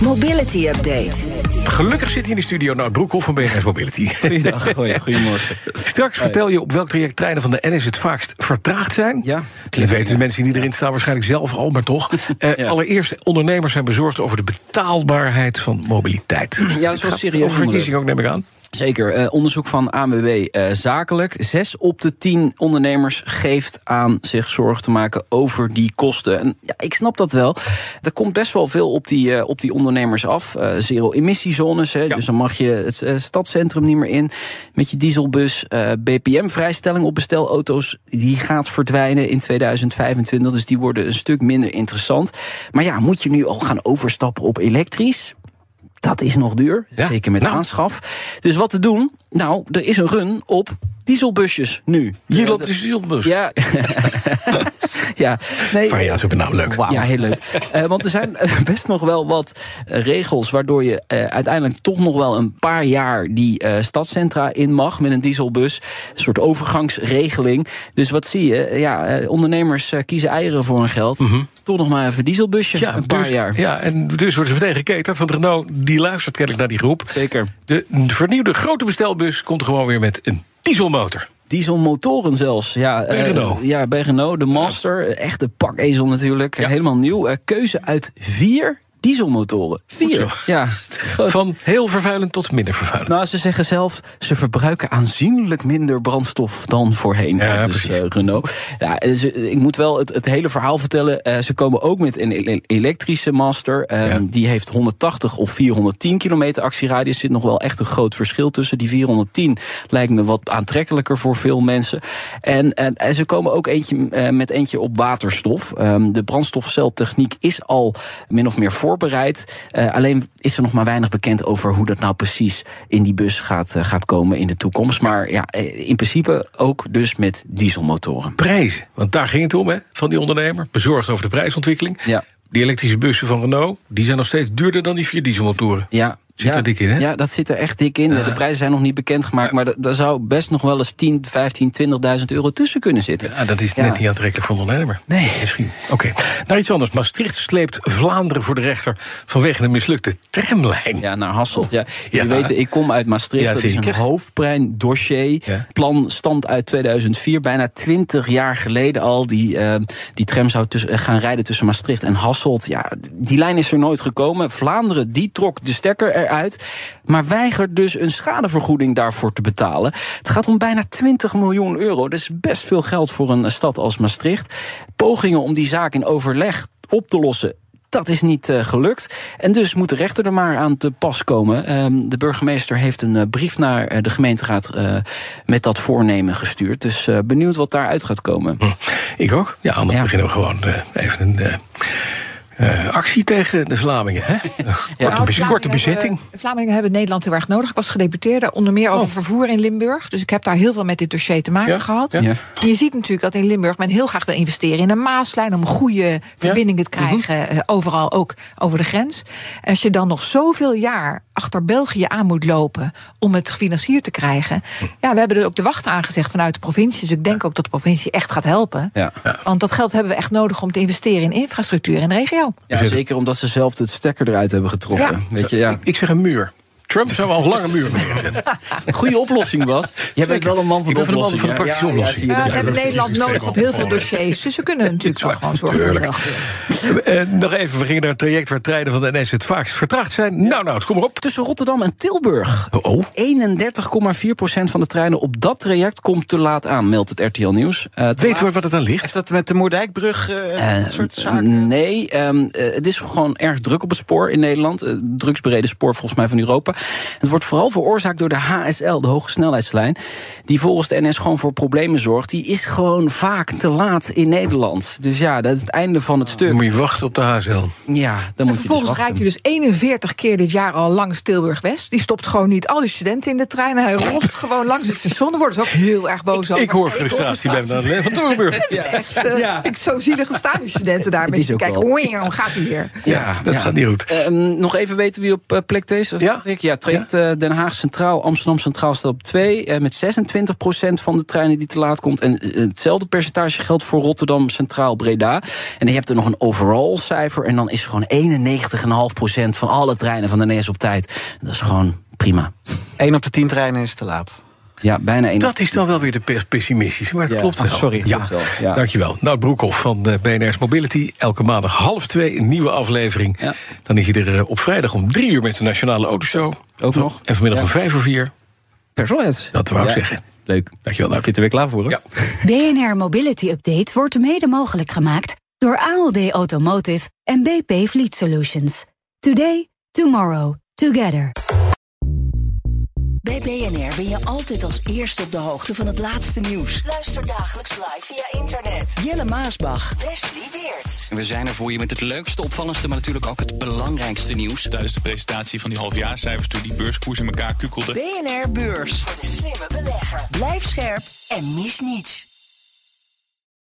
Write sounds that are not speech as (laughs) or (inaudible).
Mobility Update. Gelukkig zit hier in de studio Nout Broekhoff van BNS Mobility. Goeiedag, hoi, goedemorgen. (laughs) Straks vertel je op welk traject treinen van de NS het vaakst vertraagd zijn. Ja. Dat weten de mensen die erin staan waarschijnlijk zelf al, maar (laughs) toch. Eh, Ja. Allereerst, ondernemers zijn bezorgd over de betaalbaarheid van mobiliteit. Ja, wel serieus Over verkiezing ook, neem ik aan. Zeker, eh, onderzoek van ANWB eh, Zakelijk. Zes op de tien ondernemers geeft aan zich zorgen te maken over die kosten. En ja, ik snap dat wel. Er komt best wel veel op die, eh, op die ondernemers af. Eh, Zero-emissiezones, hè, dus dan mag je het eh, stadscentrum niet meer in. Met je dieselbus, eh, BPM-vrijstelling op bestelauto's... die gaat verdwijnen in 2025, dus die worden een stuk minder interessant. Maar ja, moet je nu al gaan overstappen op elektrisch? Dat is nog duur, Ja, zeker met nou. aanschaf. Dus wat te doen? Nou, er is een run op dieselbusjes nu. Hier Ja, loopt dus. dat- de zielbus. Ja. (laughs) ja. Nee. Variatie op een naam, nou leuk. Ja, heel leuk. Eh, want er zijn eh, best nog wel wat eh, regels... waardoor je eh, uiteindelijk toch nog wel een paar jaar... die eh stadscentra in mag met een dieselbus. Een soort overgangsregeling. Dus wat zie je? Eh, Ja, eh, ondernemers eh, kiezen eieren voor hun geld. Toch nog maar even dieselbusje, een paar dus, jaar. Mhm. Ja, en dus wordt er meteen gekeken. Want Renault die luistert kennelijk naar die groep. Zeker. De vernieuwde grote bestelbus komt gewoon weer met een dieselmotor. Dieselmotoren zelfs. Ja, Bij eh, Renault. ja, bij Renault, de Master. eh, Echte pakezel natuurlijk. Ja. Helemaal nieuw. Eh, keuze uit vier dieselmotoren. Goed Vier. zo. Ja, (laughs) gewoon- Van heel vervuilend tot minder vervuilend. Nou, ze zeggen zelf, ze verbruiken aanzienlijk minder brandstof dan voorheen. Ja, Ja, dus precies. eh, Renault. Ja, en ze- ik moet wel het, het hele verhaal vertellen. Eh, ze komen ook met een ele- elektrische Master. Eh, Ja. Die heeft 180 of 410 kilometer actieradius. Er zit nog wel echt een groot verschil tussen. Die 410 lijkt me wat aantrekkelijker voor veel mensen. En, en, en ze komen ook eentje, eh, met eentje op waterstof. Ehm, de brandstofceltechniek is al min of meer voorbereid. Eh, alleen is er nog maar weinig bekend over hoe dat nou precies in die bus gaat, eh, gaat komen in de toekomst. Maar ja, eh, in principe ook dus met dieselmotoren. Prijzen, want daar ging het om, hè, van die ondernemer. Bezorgd over de prijsontwikkeling. Ja. Die elektrische bussen van Renault, die zijn nog steeds duurder dan die vier dieselmotoren. Ja. Zit ja, er dik in, hè? Ja, dat zit er echt dik in. De prijzen zijn nog niet bekendgemaakt, maar da- daar zou best nog wel eens 10, 15, 20.000 euro tussen kunnen zitten. Ja, Ah, dat is Ja. net niet aantrekkelijk voor een ondernemer. Nee. Misschien. Oké, naar iets anders. Maastricht sleept Vlaanderen voor de rechter vanwege een mislukte tramlijn. Ja, naar Hasselt. Ja. Oh. Ja. Je weet, ik kom uit Maastricht. Ja, dat is een zeker. hoofdpijn dossier. Ja. Plan stamt uit 2004, bijna 20 jaar geleden al. Die, eh, die tram zou tussen- eh, gaan rijden tussen Maastricht en Hasselt. Ja, d- die lijn is er nooit gekomen. Vlaanderen, die trok de stekker eruit. Maar weigert dus een schadevergoeding daarvoor te betalen. Het gaat om bijna 20 miljoen euro. Dat is best veel geld voor een eh, stad als Maastricht. Pogingen om die zaak in overleg op te lossen dat is niet eh, gelukt. En dus moet de rechter er maar aan te pas komen. Ehm, de burgemeester heeft een eh, brief naar eh, de gemeenteraad eh, met dat voornemen gestuurd. Dus eh, benieuwd wat daaruit gaat komen. Hm. Ik ook. Ja, anders Ja. beginnen we gewoon eh, even een eh, eh, actie tegen de Vlamingen. (laughs) Hè? korte, Nou, bez- Vlamingen korte bezetting. Oh. Hebben, Vlamingen hebben Nederland heel erg nodig. Ik was gedeputeerde, onder meer over vervoer in Limburg. Dus ik heb daar heel veel met dit dossier te maken Ja, gehad. ja. Ja. En Je ziet natuurlijk dat in Limburg men heel graag wil investeren in een Maaslijn... om goede verbindingen te Mhm. krijgen, eh, overal ook over de grens. En als je dan nog zoveel jaar achter België aan moet lopen... om het gefinancierd te krijgen... ja, we hebben er ook de wacht aangezegd vanuit de provincie. Dus ik denk ook dat de provincie echt gaat helpen. Ja. Ja. Want dat geld hebben we echt nodig om te investeren in infrastructuur in de regio. Ja, zeker omdat ze zelf het stekker eruit hebben getrokken. Ja. Weet je, ja. Ik, ik zeg een muur. Trump zou wel een lange (laughs) muur neerzetten. Goede oplossing was. (laughs) Jij bent wel een man van Ik de ben van de man oplossing. van de praktische oplossing. Ja, Ja, ze hebben dat is Nederland een nodig sterke op heel veel opvolger. dotsjes. Dus ze kunnen natuurlijk wel gewoon zorgen. dat tuurlijk. het wel gebeurt. Eh, nog even, we gingen naar het traject waar treinen van de NS het vaakst vertraagd zijn. Nou, nou, het kom maar op. Tussen Rotterdam en Tilburg. Oh. 31,4% van de treinen op dat traject komt te laat aan, meldt het RTL Nieuws. Eh, te Weet we wat het dan ligt? Heeft dat met de Moerdijkbrug eh Eh, dat soort zaken? Nee, ehm, eh, het is gewoon erg druk op het spoor in Nederland. Eh, Het drugsbereden spoor volgens mij van Europa. Het wordt vooral veroorzaakt door de HSL, de hogesnelheidslijn. Die volgens de NS gewoon voor problemen zorgt. Die is gewoon vaak te laat in Nederland. Dus ja, dat is het einde van het Dan stuk. moet je wachten op de HSL. Ja, dan En moet je dus vervolgens wachten. rijdt u dus 41 keer dit jaar al langs Tilburg-West. Die stopt gewoon niet al die studenten in de trein. Hij (laughs) rolt gewoon langs het station. Daar worden ze ook heel erg boos over. Ik hoor frustratie bij me van Torenburg. Het is echt, eh, Ja. Ik zo zielig staan die studenten daar. is Mensen ook kijken, wel. oei, hoe gaat hij weer? Ja, dat gaat niet goed. Ehm, nog even weten wie op eh, plek T is? Of Ja. dat ik? ja traject eh, Den Haag Centraal, Amsterdam Centraal staat op 2. met 26% van de treinen die te laat komt. En eh, hetzelfde percentage geldt voor Rotterdam Centraal Breda. En je hebt er nog een over overall cijfer. En dan is er gewoon 91,5% van alle treinen van de NS op tijd. En dat is gewoon prima. 1 op de 10 treinen is te laat. Ja, bijna (laughs) één. Dat is dan wel weer de pers- pessimistische, maar het Ja. klopt Ah, wel. sorry, het ja. klopt wel, ja. Dankjewel. Nou, Broekhoff van eh, BNR's Mobility. Elke maandag half twee een nieuwe aflevering. Ja. Dan is hij er eh, op vrijdag om drie uur met de Nationale Autoshow. Ook nog. En vanmiddag Ja. om vijf voor vier. Persoons. Dat wou ik zeggen. Leuk. Dankjewel, Nout. Ik zit er weer klaar voor, hoor. Ja. BNR Mobility Update wordt mede mogelijk gemaakt door ALD Automotive en BP Fleet Solutions. Today, tomorrow, together. Bij BNR ben je altijd als eerste op de hoogte van het laatste nieuws. Luister dagelijks live via internet. Jelle Maasbach, Wesley Weert. En We zijn er voor je met het leukste, opvallendste, maar natuurlijk ook het belangrijkste nieuws. tijdens de presentatie van die halfjaarcijfers toen die beurskoers in elkaar kukkelde. BNR Beurs voor de slimme belegger. Blijf scherp en mis niets.